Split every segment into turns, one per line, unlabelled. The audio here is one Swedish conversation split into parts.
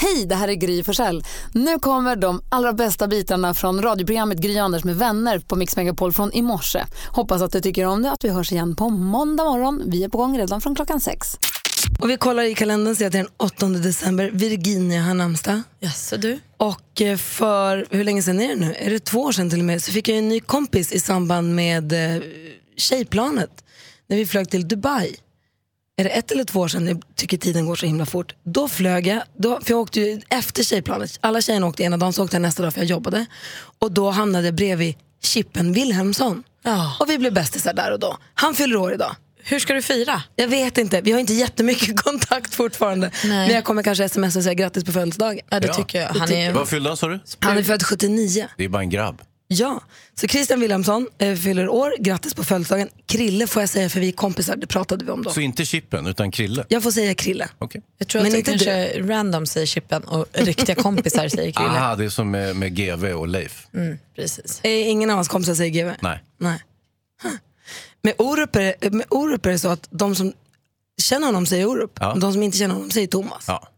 Hej, det här är Gry Forssell. Nu kommer de allra bästa bitarna från radioprogrammet Gry Anders med vänner på Mix Megapol från i morse. Hoppas att du tycker om det att vi hörs igen på måndag morgon. Vi är på gång redan från klockan sex.
Och vi kollar i kalendern ser att det är den 8 december. Virginia har namnsdag.
Jaså du?
Och eh, för, hur länge sedan är det nu? Är det två år sedan till och med? Så fick jag en ny kompis i samband med eh, tjejplanet. När vi flög till Dubai. Är det ett eller två år sedan? Jag tycker tiden går så himla fort. Då flög jag, då, för jag åkte ju efter tjejplanet. Alla tjejerna åkte ena dagen, så åkte jag nästa dag för jag jobbade. Och då hamnade jag bredvid Chippen Wilhelmsson.
Ja.
Och vi blev bästisar där och då. Han fyller år idag.
Hur ska du fira?
Jag vet inte, vi har inte jättemycket kontakt fortfarande.
Nej.
Men jag kommer kanske sms och säga grattis på födelsedagen.
Ja, det
Ja.
tycker jag. Han är...
Vad fyllde han sa du?
Han är född 79.
Det är bara en grabb.
Ja, så Christian Wilhelmsson eh, fyller år, grattis på födelsedagen. Krille får jag säga för vi är kompisar, det pratade vi om då.
Så inte Chippen, utan Krille?
Jag får säga Krille.
Okej.
Jag tror att
Men
det
inte
kanske random säger Chippen och riktiga kompisar säger Krille.
Aha, det är som med, med GV och Leif.
Mm, precis.
Eh, ingen av hans kompisar säger GW.
Nej.
Nej. Huh. Med Orup, är, det- med Orup är det så att de som känner honom säger Orup,
Ja.
de som inte känner honom säger Thomas.
Ja.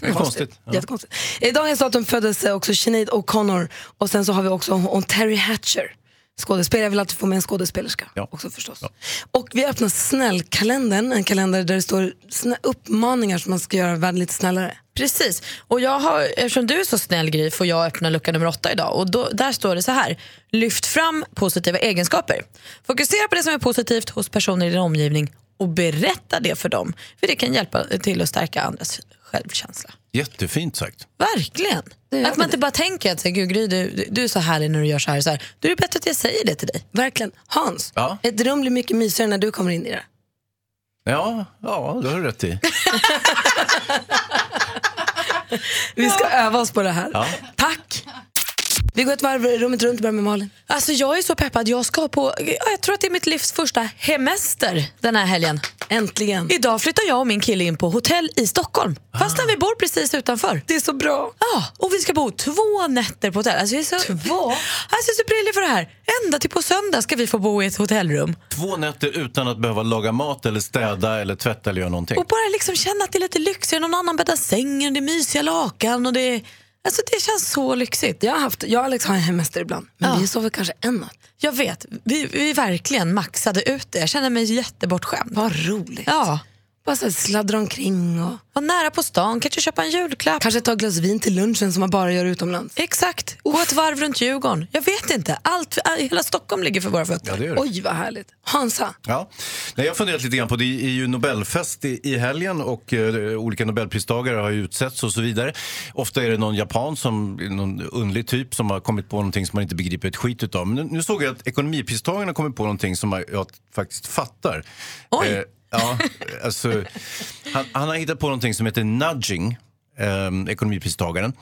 Det är konstigt. Ja.
Jättekonstigt. I dagens datum föddes eh, också Sinead O'Connor och sen så har vi också hon Terry Hatcher, skådespelare. Jag vill alltid få med en skådespelerska
Ja.
också förstås. Och vi öppnar snällkalendern, en kalender där det står snä- uppmaningar som man ska göra världen lite snällare.
Precis. Och jag har, eftersom du är så snäll Gry får jag öppna lucka nummer åtta idag. Och då, där står det så här. Lyft fram positiva egenskaper. Fokusera på det som är positivt hos personer i din omgivning och berätta det för dem. För det kan hjälpa till att stärka andras självkänsla.
Jättefint sagt.
Verkligen. Att man inte bara tänker att så här, Gud, Gry, du, du- du är så härlig när du gör så här. och Så här. Då är det bättre att jag säger det till dig.
Verkligen. Hans,
Ja.
ett rum blir mycket mysigare när du kommer in i det.
Ja, ja det har du rätt i.
Vi ska öva oss på det här.
Ja.
Tack! Vi går ett varv rummet runt och börjar med Malin.
Alltså jag är så peppad. Jag ska på, ja, jag tror att det är mitt livs första hemester den här helgen.
Äntligen.
Idag flyttar jag och min kille in på hotell i Stockholm. Fastän vi bor precis utanför.
Ah. Det är så bra.
Ja, och vi ska bo två nätter på hotell. Alltså jag är så, två? Alltså jag är så prillig för det här. Ända till på söndag ska vi få bo i ett hotellrum.
Två nätter utan att behöva laga mat eller städa eller tvätta eller göra någonting.
Och bara liksom känna att det är lite lyxigare. Någon annan bäddar sängen, det är mysiga lakan och det är... Alltså det känns så lyxigt.
Jag, har haft, jag och Alex har en hemester ibland, men
Ja.
vi sover kanske en natt.
Jag vet, vi, vi verkligen maxade ut det. Jag känner mig jättebortskämd.
Vad roligt.
Ja,
Bara så här sladdra omkring och
var nära på stan, kanske köpa en julklapp.
kanske ta ett glas vin till lunchen som man bara gör utomlands.
Exakt, gå ett varv runt Djurgården. Jag vet inte, Allt, äh, hela Stockholm ligger för våra fötter.
Ja, det gör det.
Oj, vad härligt. Hansa,
Ja. Nej, jag har funderat lite grann på det. Det är ju Nobelfest i, i helgen och eh, olika Nobelpristagare har ju utsetts och så vidare. Ofta är det någon japan, som, någon underlig typ som har kommit på någonting som man inte begriper ett skit utav. Men nu, nu såg jag att ekonomipristagarna har kommit på någonting som jag faktiskt fattar.
Oj.
Eh, ja, alltså, han, han har hittat på någonting som heter nudging, eh, ekonomipristagaren.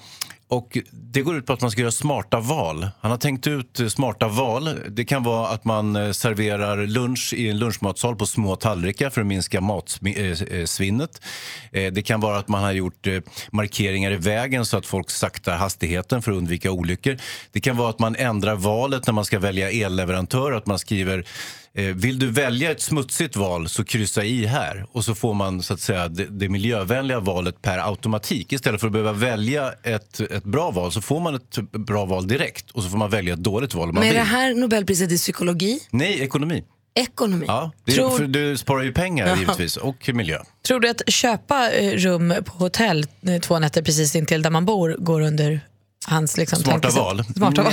Och det går ut på att man ska göra smarta val. Han har tänkt ut eh, smarta val. Det kan vara att man eh, serverar lunch i en lunchmatsal på små tallrikar för att minska eh, matsvinnet. Eh, Det kan vara att man har gjort eh, markeringar i vägen så att folk saktar hastigheten för att undvika olyckor. Det kan vara att man ändrar valet när man ska välja elleverantör, att man skriver Eh, Vill du välja ett smutsigt val så kryssa i här och så får man så att säga det, det miljövänliga valet per automatik. Istället för att behöva välja ett, ett bra val så får man ett bra val direkt och så får man välja ett dåligt val om man
med
vill.
det här Nobelpriset i psykologi,
Nej, ekonomi.
ekonomi.
Ja, det, är-
Tror-
för du sparar ju pengar givetvis och miljö.
Tror du att köpa eh, rum på hotell eh, två nätter precis intill där man bor går under hans liksom,
Smarta
tankesätt?
val. Mm.
Smarta val.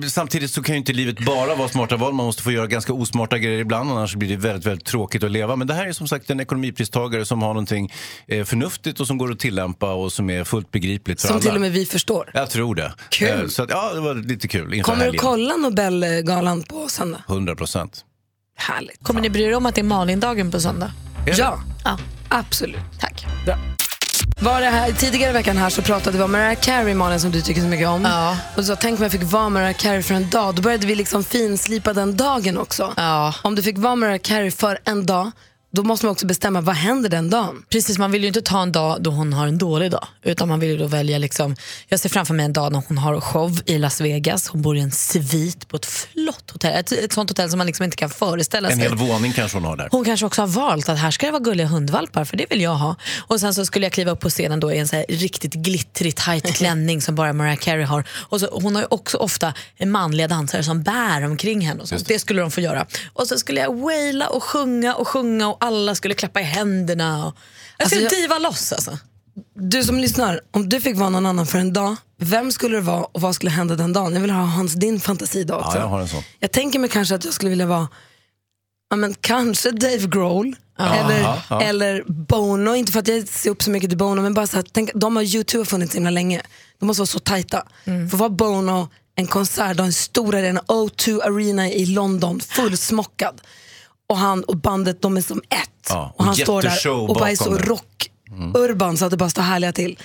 Nja, samtidigt så kan ju inte livet bara vara smarta val. Man måste få göra ganska osmarta grejer ibland annars blir det väldigt, väldigt tråkigt att leva. Men det här är som sagt en ekonomipristagare som har någonting eh, förnuftigt och som går att tillämpa och som är fullt begripligt för
Som
alla.
till och med vi förstår.
Jag tror det.
Kul.
Eh, Så att, ja, det var lite kul inför
Kommer du
helgen.
kolla Nobelgalan på söndag?
100 procent.
Härligt.
Kommer ni bry er om att det är Malindagen på söndag?
Ja,
Ja,
absolut.
tack.
Var det här, tidigare i veckan här så pratade vi om Mariah Carey, Malin, som du tycker så mycket om.
Ja.
Och så tänk om jag fick vara Mariah Carey för en dag. Då började vi liksom finslipa den dagen också.
Ja.
Om du fick vara Mariah Carey för en dag, då måste man också bestämma vad händer den dagen.
Precis, man vill ju inte ta en dag då hon har en dålig dag. Utan man vill ju då välja liksom, jag ser framför mig en dag när hon har show i Las Vegas. Hon bor i en svit på ett flott hotell. Ett, ett sånt hotell som man liksom inte kan föreställa
En
sig.
hel våning kanske hon har där.
Hon kanske också har valt att här ska det vara gulliga hundvalpar för det vill jag ha. Och sen så skulle jag kliva upp på scenen då i en så här riktigt glittrig tight klänning som bara Mariah Carey har. Och så, hon har ju också ofta manliga dansare som bär omkring henne och sånt. Det. skulle de få göra. Och så skulle jag waila och sjunga och sjunga och alla skulle klappa i händerna. Och... Jag skulle
Alltså,
diva loss alltså.
Du som lyssnar, om du fick vara någon annan för en dag, vem skulle det vara och vad skulle hända den dagen? Jag vill ha hans, din fantasi då också.
Ja, jag har en sån.
Jag tänker mig kanske att jag skulle vilja vara, ja men kanske Dave Grohl. Eller,
Ja, ja.
eller Bono, inte för att jag ser upp så mycket till Bono, men bara så här, tänk, de har YouTube funnits så himla länge. De måste vara så tajta.
Mm.
För vad Bono, en konsert, då en stor arena, O2 Arena i London, fullsmockad. Och han och bandet, de är som ett.
Ja,
och han
och
står där
jätteshow
och bara är
bakom
så
det.
rock-urban så att det bara står härliga till.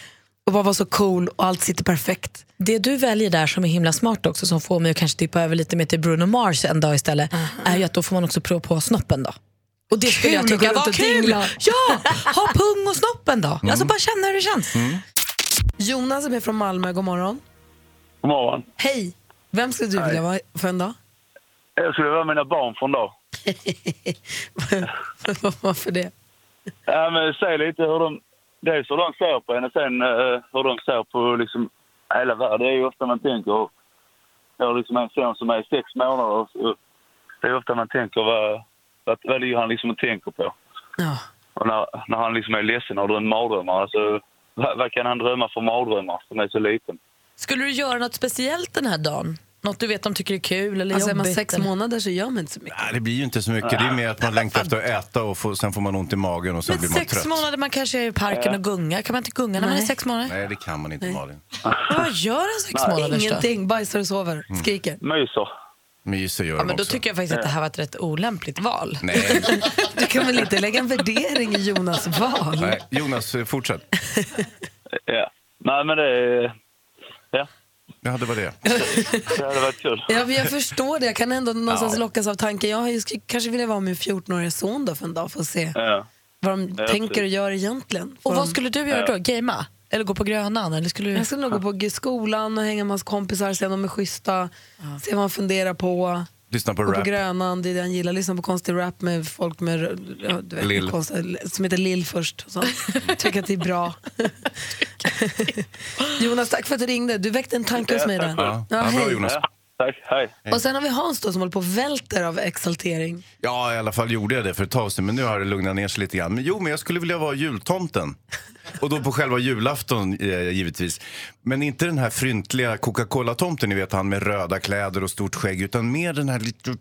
Och bara var så cool och allt sitter perfekt.
Det du väljer där som är himla smart också som får mig att kanske tippa över lite mer till Bruno Mars en dag istället är ju att då får man också prova på snoppen då. Och det skulle jag
Kul att
tycka
gå runt
var
och
kul!
dingla.
Ja, ha pung och snoppen då.
Mm.
Alltså bara känna hur det känns.
Jonas som är från Malmö, god morgon.
God morgon.
Hej! Vem skulle du vilja vara för en dag?
Jag skulle vara mina barn från då.
Varför det?
Ja, men säg lite hur de... Dels hur de ser på henne, sen eh, hur de ser på liksom hela världen. Det är ju ofta man tänker... Jag har liksom en son som är sex månader. och Så det är ofta man tänker vad, vad, vad det är han liksom och tänker på.
Ja.
Och när, när han liksom är ledsen har du en mardrömmar. Alltså, vad, vad kan han drömma för mardrömmar som är så liten?
Skulle du göra något speciellt den här dagen? Något du vet de tycker är kul eller
Alltså är
jobbigt?
man sex
eller-
månader så gör man inte så mycket.
Nej, det blir ju inte så mycket. Det är mer att man längtar efter att äta och får, sen får man ont i magen och sen
Men
blir man
sex
trött.
månader, man kanske är i parken och gungar. Kan man inte gunga när man är
Nej.
sex månader?
Nej, det kan man inte Malin.
Men Vad gör en sex månaders då?
Ingenting, bajsar och sover, skriker.
Myser.
Myser gör
Ja,
de
men då
också.
tycker jag faktiskt att det här var ett rätt olämpligt val.
Nej,
Du kan väl inte lägga en värdering i Jonas val?
nej. Jonas, eh, fortsätt.
Ja. Nej, men det... är- Ja,
Ja, det var det.
det hade varit kul.
Ja, men jag förstår det. Jag kan ändå någonstans lockas av tanken. Jag har ju- skulle kanske vilja vara min 14-åriga son då för en dag för att se
Ja.
vad de
Ja,
tänker och
precis.
gör egentligen. Får
Och vad
de-
skulle du göra då? Gamea? Eller gå på Grönan? Eller skulle du...
Jag skulle nog gå på g- skolan och hänga med hans kompisar, se om de är schyssta, se vad han funderar på.
Lyssna på
Gå på
rap.
Grönan, det är det han gillar. Lyssna på konstig rap med folk med, ja, du vet,
Lill.
konstiga- som heter Lill först. och sånt. Tycker att det är bra. Jonas, tack för att du ringde. Du väckte en tanke hos mig. Där.
Ja,
Ja,
ja, bra
hej.
Jonas.
Ja, tack. Hej.
Och sen har vi Hans då, som håller på och välter av exaltering.
Ja, i alla fall gjorde jag det för ett tag sedan, men nu har det lugnat ner sig lite grann. Men jo, men jag skulle vilja vara jultomten. Och då på själva julafton, eh, givetvis. Men inte den här fryntliga Coca-Cola-tomten, ni vet han med röda kläder och stort skägg, utan mer den här lite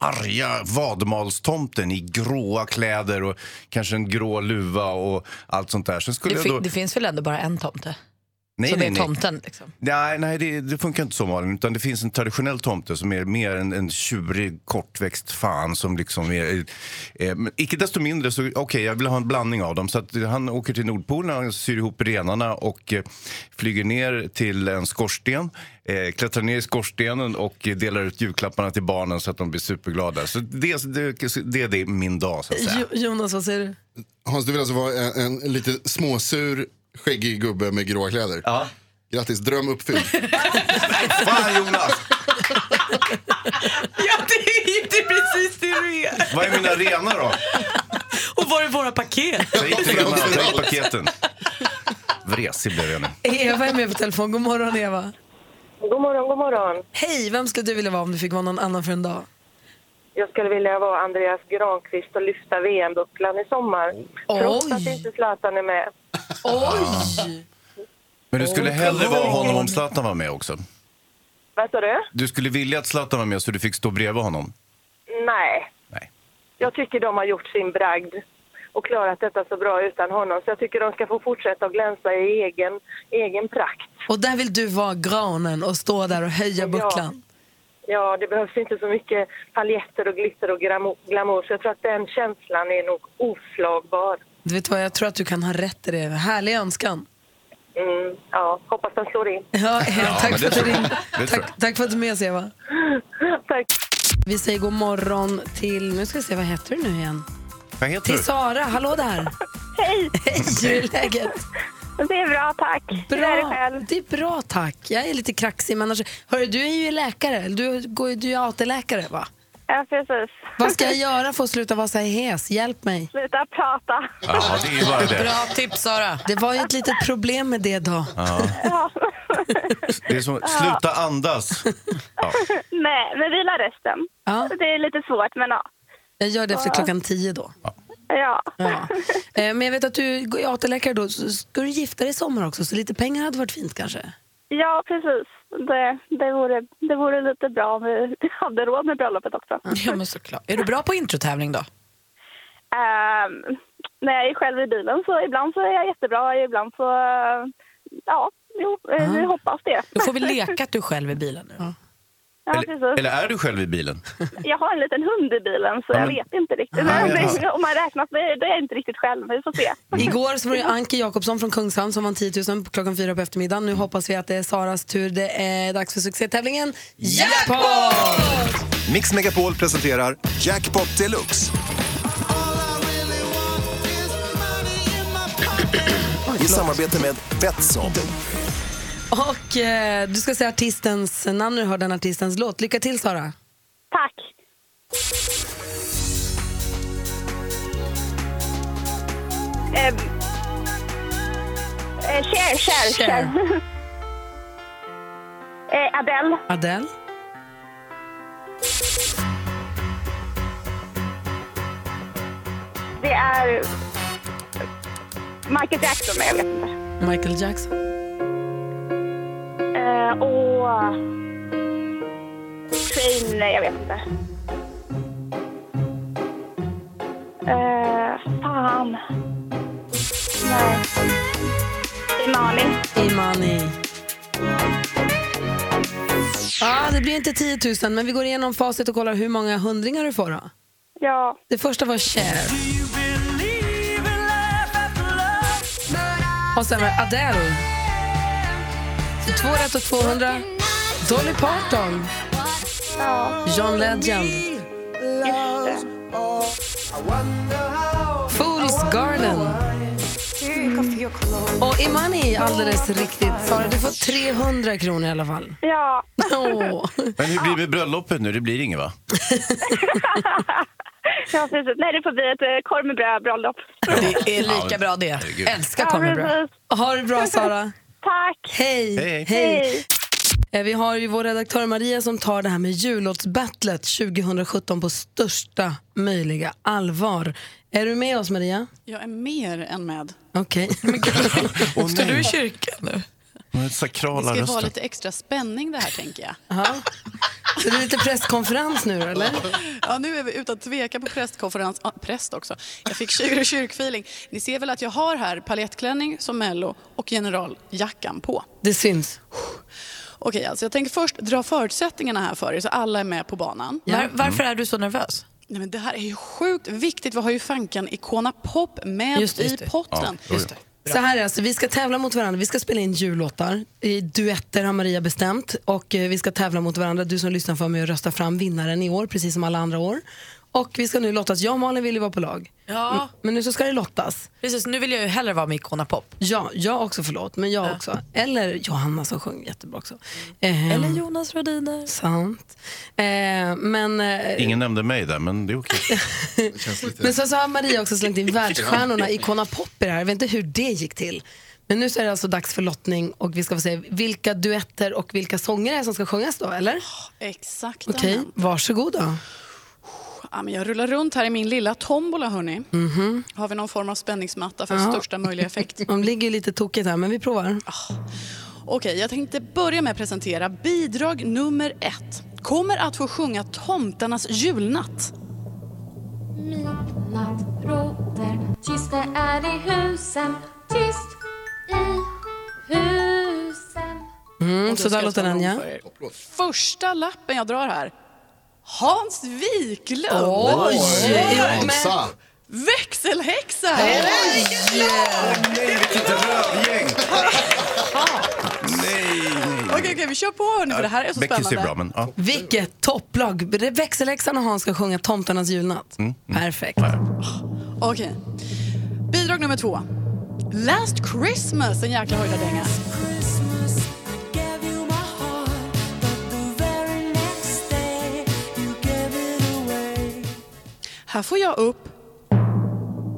arga vadmalstomten i gråa kläder och kanske en grå luva och allt sånt där. Sen skulle
Det,
jag då...
fin- det finns väl ändå bara en tomte?
nej,
som
nej,
är
nej.
tomten liksom.
Nej, nej det, det funkar inte så Malin. Utan det finns en traditionell tomte som är mer en, en tjurig, kortväxt fan som liksom är... Eh, men icke desto mindre så, okej, jag vill ha en blandning av dem. Så att eh, han åker till Nordpolen, han syr ihop renarna och eh, flyger ner till en skorsten, eh, klättrar ner i skorstenen och eh, delar ut julklapparna till barnen så att de blir superglada. Så det, det, det, det är min dag, så att säga.
Jo, Jonas, vad säger du?
Hans, du vill alltså vara en, en lite småsur, skäggig gubbe med gråa kläder?
Ja.
Grattis, dröm uppfylld.
Fan, Jonas!
Ja, det är ju precis det du är.
Vad är mina renar då?
Och var är våra paket?
Ta hit renarna, ta hit paketen. Vresig blev jag nu.
Eva är med på telefon. God morgon, Eva.
God morgon, god morgon.
Hej, vem skulle du vilja vara om du fick vara någon annan för en dag?
Jag skulle vilja vara Andreas Granqvist och lyfta VM-bucklan i sommar. Trots att inte Zlatan är med.
Oj!
Men du skulle hellre vara honom om Zlatan var med också?
Vad sa du?
Du skulle vilja att Zlatan var med så du fick stå bredvid honom?
Nej,
Nej.
jag tycker de har gjort sin bragd och klarat detta så bra utan honom. Så jag tycker de ska få fortsätta att glänsa i egen, egen prakt.
Och där vill du vara granen och stå där och höja bucklan.
Ja, det behövs inte så mycket paljetter och glitter och gramo- glamour. Så jag tror att den känslan är nog oslagbar.
Du vet vad, jag tror att du kan ha rätt i det. Härlig önskan.
Mm, ja, hoppas den slår in.
Ja, eh, tack,
men
för
det
att du
tror jag.
ringde.
Det tror
tack, tack för att du är med oss, Eva.
Tack.
Vi säger god morgon till... Nu ska vi se, vad heter du nu igen?
Vad heter
Till
du?
Sara, hallå där.
Hej!
Hej, hur är läget?
Det är bra, tack. Hur är det själv?
det är bra tack. Jag är lite kraxig men annars... Hörru, du är ju läkare, Eller du, går, ju- du är AT-läkare va?
Ja, precis.
Vad ska jag göra för att sluta vara så här hes? Hjälp mig.
Sluta prata.
Ja, det är ju bara det.
Bra tips Sara.
Det var ju ett litet problem med det då.
Ja.
det är som, sluta andas.
Nej, men vila resten.
Ja.
Det är lite svårt, men ja.
Jag gör det efter klockan tio då.
Ja,
Ja. Eh, Men jag vet att du är AT-läkare då. Så Ska du gifta dig i sommar också? Så lite pengar hade varit fint kanske?
ja precis. Det, det, vore, det vore lite bra om vi hade råd med bröllopet också.
Ja, men såklart. Är du bra på introtävling då?
Ehm, när jag är själv i bilen så ibland så är jag jättebra, ibland så... eh, Ja, jo, eh, vi hoppas det.
Då får vi leka att du själv i bilen nu.
Ja,
Eller,
precis.
eller är du själv i bilen?
Jag har en liten hund i bilen så
Ja,
jag
men-
vet inte riktigt.
Nej,
Men
ja.
om man räknas, det är det är jag inte riktigt själv. Vi får se.
Igår så var det Anke Jakobsson från Kungshamn som vann 10 000 på klockan fyra på eftermiddagen. Nu hoppas vi att det är Saras tur. Det är dags för succétävlingen Jackpot!
Mix Megapol presenterar Jackpot Deluxe. I samarbete med Betsson.
Och eh, du ska säga artistens namn när du hör den artistens låt. Lycka till Sara!
Tack. Ehm. Eh, share, share, share. eh, Adele.
Adele?
Det är Michael Jackson, men jag vet inte.
Michael Jackson?
Eh, och... Train, nej, jag vet inte. Eh, fan. Nej. Imani.
Imani. Ah, det blir inte 10 000, men vi går igenom facit och kollar hur många hundringar du får. Då.
Ja.
Det första var Cher. Och sen var det Adele. Två rätt och 200. Dolly Parton.
Ja.
John Legend.
Just det.
Fools Garden. Och Imani alldeles riktigt. Sara, du får 300 kronor i alla fall.
Ja.
Åh.
Men hur blir det med bröllopet nu? Det blir inget va?
ja precis. Nej, det får bli ett eh, korv med bröd bröllop.
Det är
Ja,
lika
men-
bra det.
herregud.
Älskar kommer bra.
precis.
Ha det bra, Sara.
Tack.
Hej.
Hej.
Hej.
Eh, Vi har ju vår redaktör Maria som tar det här med jullåtsbattlet 2017 på största möjliga allvar. Är du med oss Maria?
Jag är mer än med.
Okej.
Åh
Står du i
nej,
kyrkan nu?
den
Det
sakrala
ska ju vara
rösten.
lite extra spänning det här tänker jag.
Jaha. Så det är lite presskonferens nu då, eller?
Ja, nu är vi utan tvekan på prästkonferens. Ah, präst också. Jag fick kyr och kyrkfeeling. Ni ser väl att jag har här palettklänning som Mello och generaljackan på.
Det syns.
Okej, alltså jag tänker först dra förutsättningarna här för er så alla är med på banan.
Var, varför är du så nervös?
Nej, men det här är ju sjukt viktigt. Vi har ju fanken Icona Pop med
Just det, just det.
i potten.
Så här är det, alltså, vi ska tävla mot varandra. Vi ska spela in jullåtar. I duetter har Maria bestämt. Och eh, vi ska tävla mot varandra. Du som lyssnar får med och rösta fram vinnaren i år, precis som alla andra år. Och vi ska nu lottas. Jag och Malin vill ju vara på lag.
Ja.
Men nu så ska det lottas.
Precis, nu vill jag ju hellre vara med Icona Pop.
Ja, jag också förlåt, men jag också. Eller Johanna som sjöng jättebra också. Ehm,
Eller Jonas Rhodiner.
Sant. Eh, men, eh,
Ingen nämnde mig där, men det är okej.
Det känns lite...
men sen så har Maria också slängt in världsstjärnorna Icona Pop i det här. Jag vet inte hur det gick till. Men nu så är det alltså dags för lottning och vi ska få se vilka duetter och vilka sånger det är som ska sjungas då, eller?
Ah, Exakt.
Okej,
amen.
varsågod då.
Ja, men jag rullar runt här i min lilla tombola, hörni.
Mhm.
Har vi någon form av spänningsmatta för största möjliga effekt?
De ligger ju lite tokigt här, men vi provar.
Ah. Okej, jag tänkte börja med att presentera bidrag nummer ett. Kommer att få sjunga Tomtarnas julnatt.
Midnatt råder, tyst det är i husen, tyst i husen.
Mm,
Och då
så
ska
där
jag
låter
tala
den
om
ja.
för er. Första lappen jag drar här. Hans Wiklund.
Oj! Men,
Hansa!
Växelhäxa!
Nej, vilket rövgäng! Nej, nej.
Okej, okej, vi kör på hörni för det här är så
Beckis är
spännande.
bra, men ja.
vilket topplag! Växelhäxan och Hans ska sjunga Tomtarnas julnatt. Perfekt.
Okej. Bidrag nummer två. Last Christmas, en jäkla höjdardänga. Här får jag upp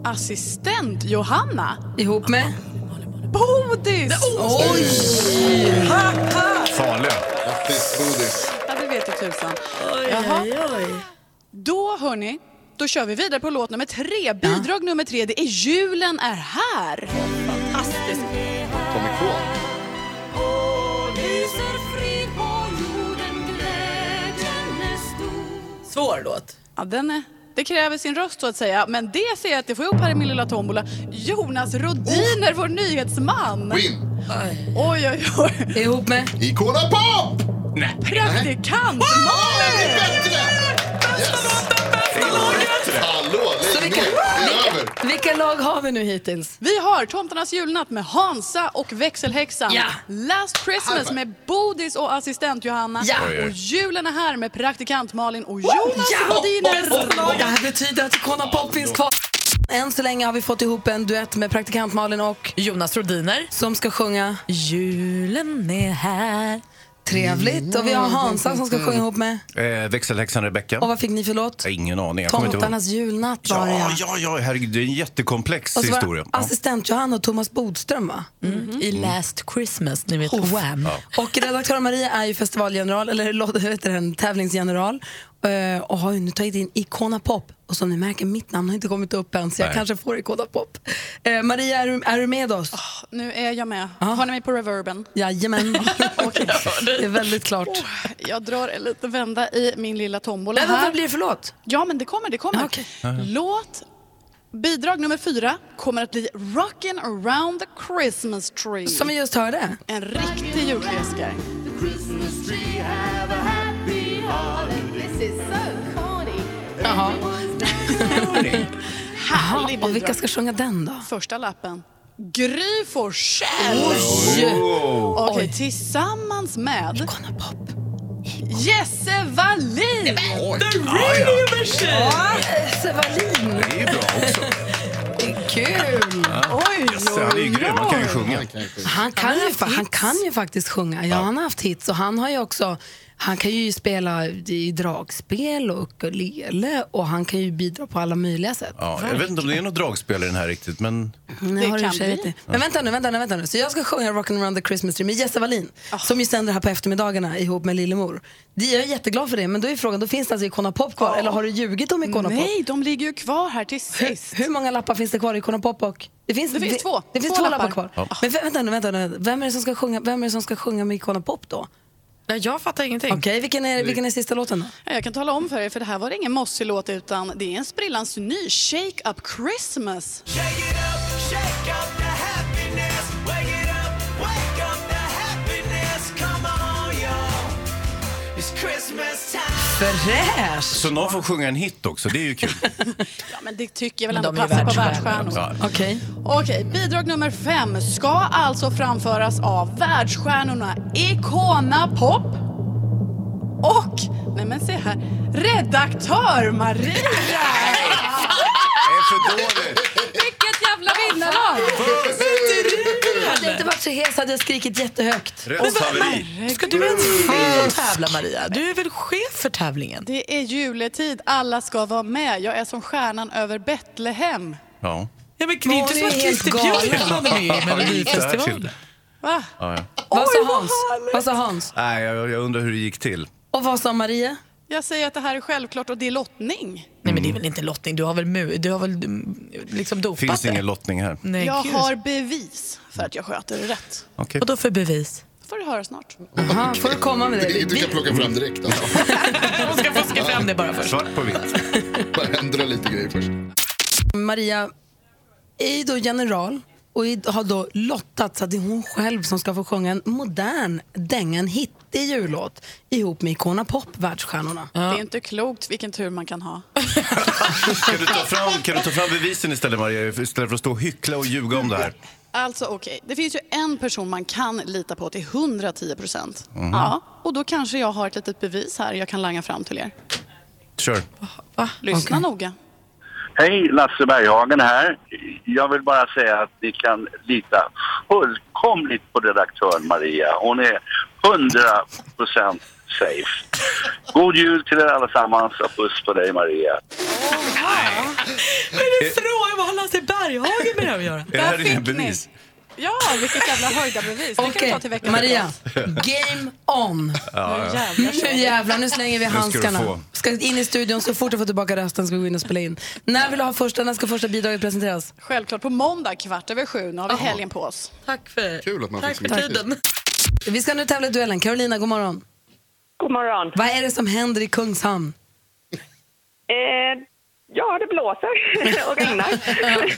assistent Johanna.
Ihop med?
Bodis!
Oj!
Ha, ha.
Farliga.
Grattis, Bodis.
Ja, det vet ju tusan. Jaha. Då hörni, då kör vi vidare på låt nummer tre. Bidrag nummer tre, det är Julen är här. Fantastiskt.
Tommy K.
Svår låt.
Ja, den är... Det kräver sin röst så att säga, men det ser jag att det får jag upp här i min lilla tombola. Jonas Rodiner, vår nyhetsman!
Win.
Oj, oj, oj.
Ihop med?
Ikola Pop!
Nej.
Praktikant
Det är
Malin!
bättre! Yes! Hallå, lägg ner. Det är över.
Vilka lag har vi nu hittills?
Vi har Tomtarnas julnatt med Hansa och växelhäxan.
Ja.
Last
High
Christmas
five.
med Bodis och assistent Johanna.
Ja.
Oj, oj.
Och julen är här med praktikant Malin och Jonas Rodiner.
Det här betyder att Icona Pop finns kvar. Än så länge har vi fått ihop en duett med praktikant Malin och
Jonas Rodiner.
som ska sjunga
Julen är här.
trevligt. Och vi har Hansa som ska sjunga ihop med.
Eh, växelhäxan Rebecka.
Och vad fick ni för låt?
Jag har Ingen aning. Jag kommer inte ihåg.
Tomtarnas julnatt var det
Ja, ja, ja, herregud. Det är en jättekomplex
Och så var
historia.
det
Ja.
assistent Johanna och Thomas Bodström va?
I Last Christmas, ni vet Wham.
Och redaktör Maria är ju festivalgeneral, eller låt- vad heter den, tävlingsgeneral eh, och har ju nu tagit in Icona Pop. Och som ni märker, mitt namn har inte kommit upp än så jag
Nej.
kanske får Icona Pop. Eh, Maria, är du, är du med oss?
Ah.
Nu är jag med. Har ni mig på reverben?
Jajamän. Det är väldigt klart.
Jag drar en liten vända i min lilla tombola
Men vad
här.
blir det för låt?
Ja, men det kommer, det kommer.
Ja, okej.
Låt bidrag nummer fyra kommer att bli Rockin' around the Christmas tree.
Som vi just hörde.
En riktig julklaskare.
Jaha.
Härlig bidrag.
Och vilka ska sjunga den då?
Första lappen. Gry Forssell! Okej, tillsammans med
Icona Pop.
Jesse Wallin!
Ja, ja.
Ja, Esse Wallin.
Det är ju bra också.
Kul.
Oj,
Så han är ju grym. Han kan ju sjunga.
Han kan, ju, fa- han kan ju faktiskt sjunga. Ja, han har haft hits och han har ju också han kan ju spela i dragspel och ukulele och han kan ju bidra på alla möjliga sätt.
Ja, jag vet inte om det är något dragspel i den här riktigt, men
Nej,
Det
har du
kan
i och för sig
bli.
rätt i. Men vänta nu, vänta nu, vänta nu. Så jag ska sjunga Rockin' around the Christmas tree med Jesse Wallin
Ah.
som ju sänder här på eftermiddagarna ihop med Lillemor. Det- Jag är jätteglad för det, men då är frågan, då finns det alltså Icona Pop kvar eller har du ljugit om Icona Pop?
Ah. Nej, de ligger ju kvar här till sist.
Hur många lappar finns det kvar i Icona Pop och? Det finns,
Det finns två.
Det finns
Två
två,
lappar.
lappar, kvar. Men vä- vänta nu, vänta nu. Vem är det som ska sjunga, vem är det som ska sjunga med Icona Pop då?
Nej, jag fattar ingenting.
Okej, vilken, är, vilken är sista låten då?
Ja, Jag kan tala om för er, för det här var ingen mossig låt utan det är en sprillans ny Shake Up Christmas.
Fräsch!
så någon får sjunga en hit också. Det är ju kul.
Ja, men det tycker jag väl
Men
ändå
de är ju
passar på
världsstjärnor.
världsstjärnor.
Okej.
Okej, bidrag nummer fem ska alltså framföras av världsstjärnorna Icona Pop och, nej men se här, redaktör Maria!
Det är för dåligt.
Vilket jävla vinnarlag!
Hade jag inte varit så hes hade jag skrikit jättehögt.
Röst haveri.
Ska du ens själv tävla Maria? Du är väl chef för tävlingen?
Det är juletid, alla ska vara med. Jag är som stjärnan över Betlehem.
Ja.
Ja, men det är
Hon
inte som
är
att
helt
Christer
galen.
Björkman var med i Melodifestivalen.
Va?
Ja, ja.
Vad sa Hans? Vad sa Hans?
Nej, jag, jag undrar hur det gick till.
Och vad sa Maria?
Jag säger att det här är självklart och det är lottning.
Nej, men det är väl inte lottning? Du har väl, mu- du har väl mm, liksom dopat
Finns
det?
ingen lottning här.
Nej,
Jag
gud.
har bevis för att jag sköter det rätt.
Okej.
Vadå för bevis?
Det får du höra snart.
Aha, får du komma med det?
Det du kan plocka fram direkt. Alltså.
Hon ska fuska fram det bara först.
Svart på vitt.
Bara ändra lite grejer först.
Maria är ju då general och är- har då lottat så att det är hon själv som ska få sjunga en modern dänga, en hittig jullåt ihop med Icona Pop, världsstjärnorna.
Det är inte klokt vilken tur man kan ha.
Kan du, ta fram, kan du ta fram bevisen istället, Maria? Istället för att stå och hyckla och ljuga om det här.
Alltså okej, det finns ju en person man kan lita på till 110 procent. Ja, och då kanske jag har ett litet bevis här jag kan langa fram till er.
Kör.
Lyssna noga.
Hej, Lasse Berghagen här. Jag vill bara säga att ni kan lita fullkomligt på redaktören Maria. Hon är 100% safe. God jul till er allesammans och puss på dig Maria.
Men du frågar vad har Lasse Berghagen med det här att göra?
Är det här dina bevis?
Ja, vilket jävla höjdarbevis. Det kan vi
Okej,
ta till veckan.
Maria. Game on.
Ja, ja.
Nu jävlar, nu slänger vi
Nu ska du
handskarna.
få.
Ska in i studion så fort du får tillbaka rösten ska vi gå in och spela in. När vill du ha första, när ska första bidraget presenteras?
Självklart på måndag kvart över sju. Nu har vi helgen på oss.
Tack för,
Kul att man
tack
fick så mycket tid.
Vi ska nu tävla i duellen. Carolina, god morgon.
God morgon.
Vad är det som händer i Kungshamn?
Eh, ja, det blåser och regnar.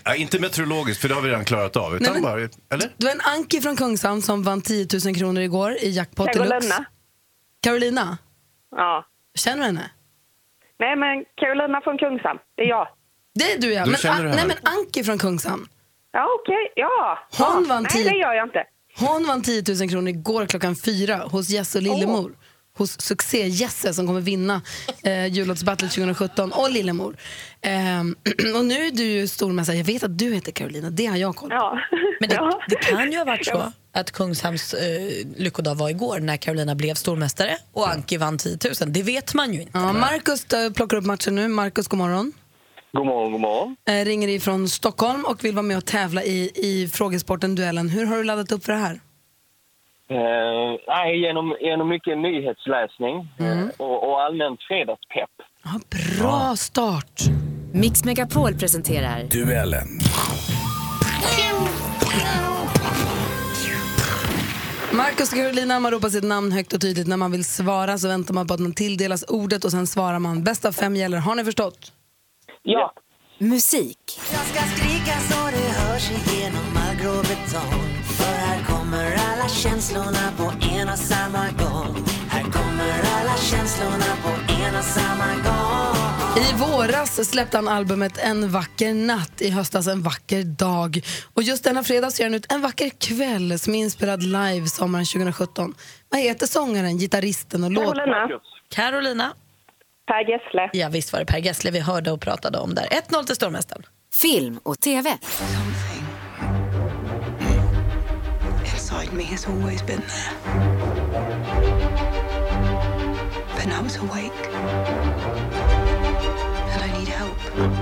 Ja, inte meteorologiskt, för det har vi redan klarat av. Utan
Nej, men-
bara, eller?
Du är en Anki från Kungshamn som vann 10 000 kronor igår i jackpot
Jag går
deluxe.
Lönna.
Carolina,
Ja.
känner du henne?
Nej, men Carolina från Kungshamn, det är jag.
Det är du ja.
Då
Men,
känner du
nej,
henne.
men Anki från Kungshamn.
Ja, okej. Ja.
Hon
ja.
vann
Nej,
10
det gör jag inte.
Hon vann 10 000 kronor igår klockan fyra hos Jesse och Lillemor. Hos succé-Jesse som kommer vinna eh, jullåtsbattlet 2017 och Lillemor. Ehm, och nu är du ju stormästare. Jag vet att du heter Carolina, det har jag koll på.
Men det, det kan ju ha varit så att Kungshamns eh, lyckodag var igår när Carolina blev stormästare och
Mm.
Anki vann 10 000. Det vet man ju inte.
Ja, Marcus eh, plockar upp matchen nu. Marcus, god morgon.
God morgon, god morgon.
Eh, ringer ifrån Stockholm och vill vara med och tävla i, i frågesporten Duellen. Hur har du laddat upp för det här?
Eh, nej, genom, genom mycket nyhetsläsning eh, och, och allmänt fredagspepp.
Bra start!
Mix Megapol presenterar...
Duellen.
Marcus och Carolina, man ropar sitt namn högt och tydligt när man vill svara så väntar man på att man tilldelas ordet och sen svarar man. Bäst av fem gäller, har ni förstått?
Ja.
Musik.
Jag ska skrika så det hörs igenom all grå betong För här kommer alla känslorna på en och samma gång Här kommer alla känslorna på en och samma gång
I våras släppte han albumet En vacker natt, i höstas En vacker dag. Och just denna fredag så gör han ut En vacker kväll som är inspelad live sommaren 2017. Vad heter sångaren, gitarristen och låt...
Carolina.
Per Gessle.
Ja, visst var det Per Gessle vi hörde och pratade om där. 1-0 till stormästaren.
Film och TV.
Inside me has always been there. But now it's awake. And I need help.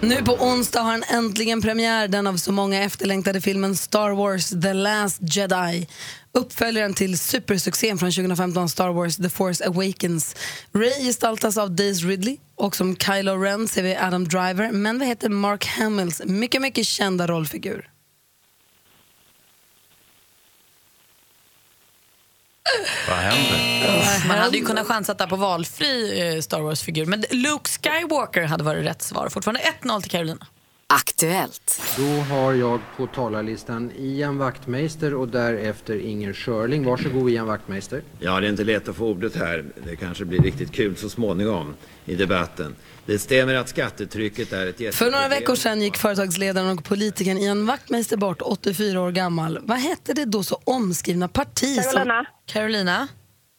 Nu på onsdag har han äntligen premiär, den av så många efterlängtade filmen Star Wars The Last Jedi. Uppföljaren till supersuccén från 2015 Star Wars The Force Awakens. Ray gestaltas av Daisy Ridley och som Kylo Ren ser vi Adam Driver. Men vad heter Mark Hamills mycket, mycket kända rollfigur?
Vad händer?
Man hade ju kunnat chansat där på valfri eh, Star Wars-figur. Men Luke Skywalker hade varit rätt svar. Fortfarande 1-0 till Carolina.
Aktuellt.
Då har jag på talarlistan Ian Wachtmeister och därefter Inger Schörling. Varsågod Ian Wachtmeister.
Ja, det är inte lätt att få ordet här. Det kanske blir riktigt kul så småningom i debatten. Det stämmer att skattetrycket är ett
För
jätteproblem.
några veckor sedan gick företagsledaren och politikern Ian Wachtmeister bort, 84 år gammal. Vad hette det då så omskrivna parti som...
Carolina. Carolina.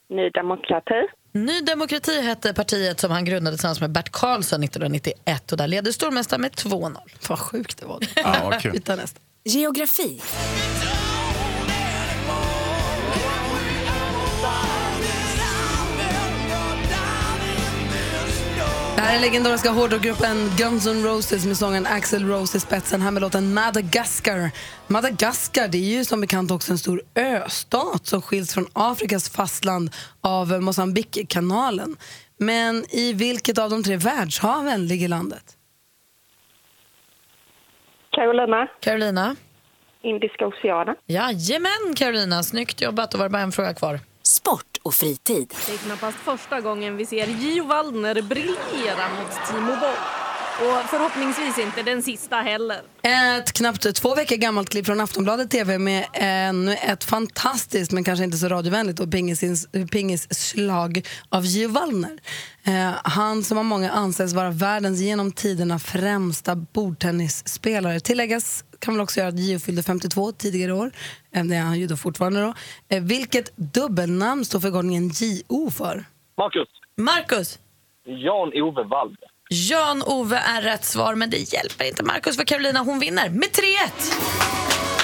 Ny demokrati.
Ny demokrati hette partiet som han grundade tillsammans med Bert Karlsson 1991 och där ledde stormästaren med 2-0.
Vad sjukt det var.
Ja, vad kul.
Vi tar nästa.
Geografi.
Det här är legendariska hårdrockgruppen Guns N' Roses med sången Axel Rose i spetsen. Här med låten Madagaskar. Madagaskar det är ju som bekant också en stor östat som skiljs från Afrikas fastland av Mosambikkanalen. Men i vilket av de tre världshaven ligger landet?
Carolina.
Carolina.
Indiska oceanen.
Jajamän Carolina, snyggt jobbat. Och var det bara en fråga kvar.
Sport och fritid.
Det är knappast första gången vi ser Gio Waldner briljera mot Timo Boll. Och förhoppningsvis inte den sista heller.
Ett knappt två veckor gammalt klipp från Aftonbladet TV med ännu ett fantastiskt men kanske inte så radiovänligt och pingisins- pingisslag av Gio Wallner. Eh, han som av många anses vara världens genom tiderna främsta bordtennisspelare. Tilläggas kan väl också göra att Gio fyllde 52 tidigare i år. Eh, det är han ju då fortfarande. Då. Eh, vilket dubbelnamn står förkortningen JO för?
Marcus.
Marcus.
Jan-Ove Wallner.
Jan-Ove är rätt svar, men det hjälper inte Markus för Carolina hon vinner med 3-1.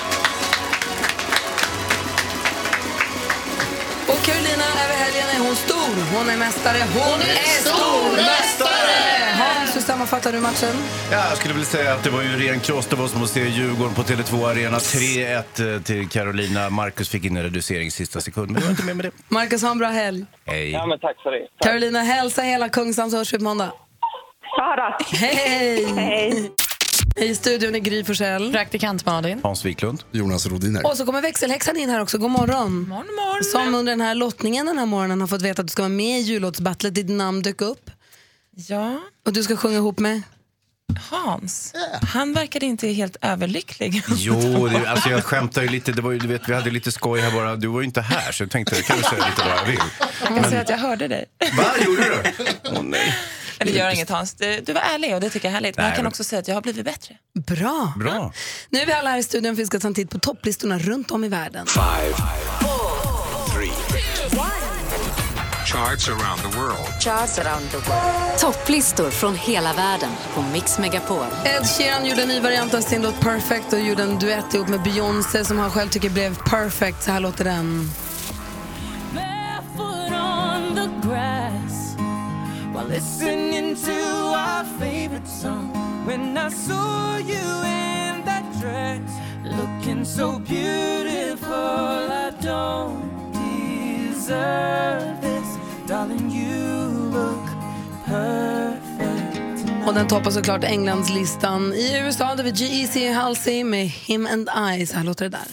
Och Carolina över helgen är hon stor. Hon är mästare. Hon, är stormästare! Hans, hur sammanfattar du matchen?
Ja, jag skulle vilja säga att det var ju en ren kross. Det var som att se Djurgården på Tele2 Arena. 3-1 till Carolina. Marcus fick in en reducering i sista sekund, men det var inte mer med det.
Marcus, ha en bra helg.
Hej.
Ja, men tack för det.
Carolina, hälsa hela Kungshamn så hörs vi på måndag. Ja Hej! Hej! I studion är Gry Forssell.
Praktikant Malin.
Hans Wiklund.
Jonas Rodiner.
Och så kommer växelhäxan in här också. God morgon.
morgon, morgon.
Som under den här lottningen den här morgonen har fått veta att du ska vara med i jullåtsbattlet. Ditt namn dök upp.
Ja.
Och du ska sjunga ihop med?
Hans, han verkade inte helt överlycklig.
Jo, det, alltså jag skämtar ju lite. Det var ju, du vet, vi hade lite skoj här bara. Du var ju inte här, så jag tänkte jag kan ju säga lite vad jag vill.
Jag måste säga att jag hörde dig.
Åh, nej.
Eller gör inget Hans, du, du var ärlig och det tycker jag är härligt. Men
Nej,
jag kan
men-
också säga att jag har blivit bättre.
Bra.
Bra.
Nu är vi alla här i studion för vi ska ta en titt på topplistorna runt om i världen.
Five, three. Charts around the world.
Topplistor från hela världen på Mix Megapol.
Ed Sheeran gjorde en ny variant av sin låt Perfect och gjorde en duett ihop med Beyoncé som han själv tycker blev perfect. Så här låter den.
Barefoot on the grass while listening to our favorite song. When I saw you in that dress, looking so beautiful, I don't deserve this. Darling, you look perfect.
Och den toppar såklart Englands listan. I USA hade vi E G.E.C. Halsey med Him and I. Så här låter det där.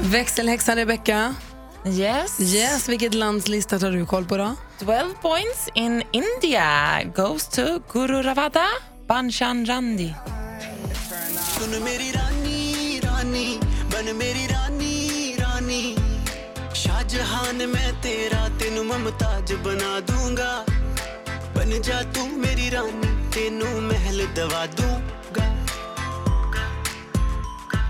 Växelhäxan Rebecca.
Yes.
Yes, vilket landslista tar du koll på då?
12 points in India goes to Guru Ravada Banshan Randi.
सुन मेरी रानी रानी बन मेरी रानी रानी शाहजहां ने मैं तेरा तेनू ममताज बना दूंगा बन जा तू मेरी रानी तेनू महल दवा दूं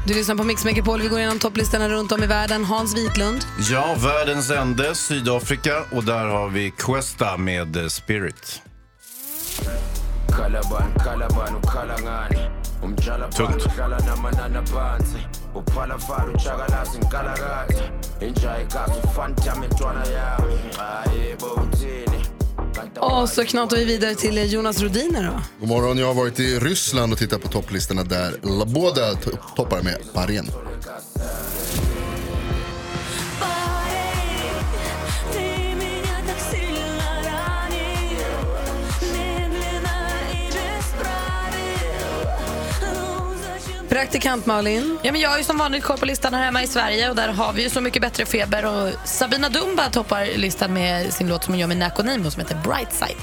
Du lyssnar på Mix Megapol. Vi går igenom topplistorna runt om i världen. Hans Wiklund.
Ja, världens ände, Sydafrika. Och där har vi Questa med eh, Spirit.
Kalaban, Kalaban, ukhala ngani? Umjala
Tungt.
phansi, uhlala namanana phansi. Uphala fara, uchakalasi, ngikalakatha. Inja ikazi, ufantame, intwana yami. Hhayi, bo, uthini?
Och så knatar vi vidare till Jonas Rodiner då.
God morgon, jag har varit i Ryssland och tittat på topplistorna där. La- Båda to- toppar med Bahrain.
Praktikant Malin.
Ja, men jag har ju som vanligt koll på listan här hemma i Sverige och där har vi ju Så mycket bättre feber och Sabina Dumba toppar listan med sin låt som hon gör med Nakonimo som heter Brightside.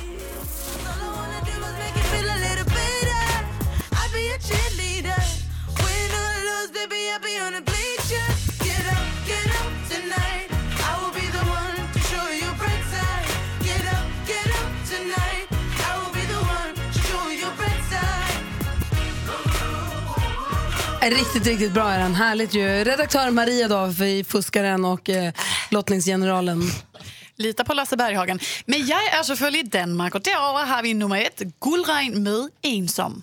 Är Riktigt, riktigt bra är han. Härligt ju. Redaktör Maria då, för fuskaren och eh, lottningsgeneralen.
Lita på Lasse Berghagen. Men jag är selvfølgelig i Danmark, och derover har vi nummer ett, Guldregn med Ensom.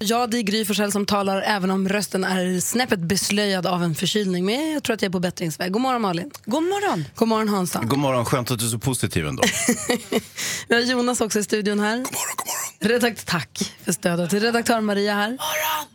Jag, det är Gry Forssell som talar även om rösten är snäppet beslöjad av en förkylning. Men jag tror att jag är på bättringsväg. God morgon Malin.
God morgon.
Mm.
God morgon Hansa.
God morgon, skönt att du är så positiv ändå.
Vi har Jonas också i studion här. God morgon, god morgon. Redakt tack för stödet till redaktör Maria här.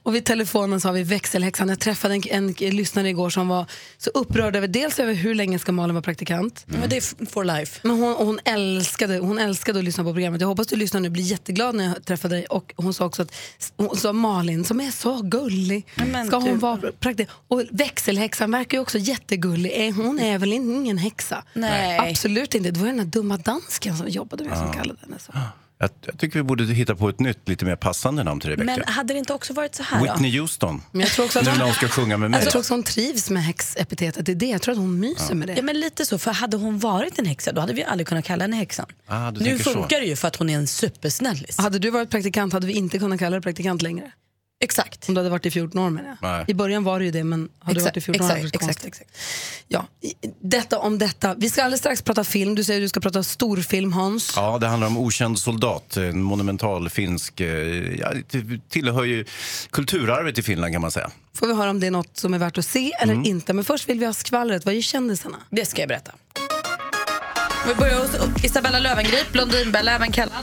Och vid telefonen så har vi växelhäxan. Jag träffade en, en lyssnare igår som var så upprörd över dels över hur länge ska Malin vara praktikant.
Men det är for life.
Men hon, och hon, älskade, hon älskade att lyssna på programmet. Jag hoppas du lyssnar nu blir jätteglad när jag träffade dig. Och hon sa också att hon sa Malin som är så gullig,
Men
ska hon
du-
vara praktikant? Och växelhäxan verkar ju också jättegullig. Eh, Hon är väl in- ingen häxa?
Nej.
Absolut inte. Det var ju den där dumma dansken som jobbade med som
Ja.
kallade henne
Ah.
så.
Jag, jag tycker vi borde hitta på ett nytt, lite mer passande namn till Rebecca.
Men
hade det inte också varit så
Whitney Houston.
Men jag tror också att
nu
hon- Alltså,
när hon ska sjunga med mig.
Jag tror också hon trivs med häxepitetet. Det är det. Jag tror att hon myser med det.
Ja, men lite så. För hade hon varit en häxa, då hade vi aldrig kunnat kalla henne häxan.
Ah, du
nu
tänker så.
funkar det ju för att hon är en supersnällis.
Hade du varit praktikant hade vi inte kunnat kalla dig praktikant längre.
Exakt.
Om du hade varit i 14 år menar jag.
Nej.
I början var det ju det men har du
Exakt,
varit i 14 år hade det varit
exakt,
konstigt. Ja, i- detta om detta. Vi ska alldeles strax prata film. Du säger att du ska prata storfilm Hans.
Ja, det handlar om Okänd soldat, en monumental finsk... eh, Ja, det tillhör ju kulturarvet i Finland kan man säga.
Får vi höra om det är något som är värt att se eller inte. Men först vill vi ha skvallret. Vad är kändisarna?
Det ska jag berätta. Vi börjar hos Isabella Löwengrip, Blondinbella även kallad.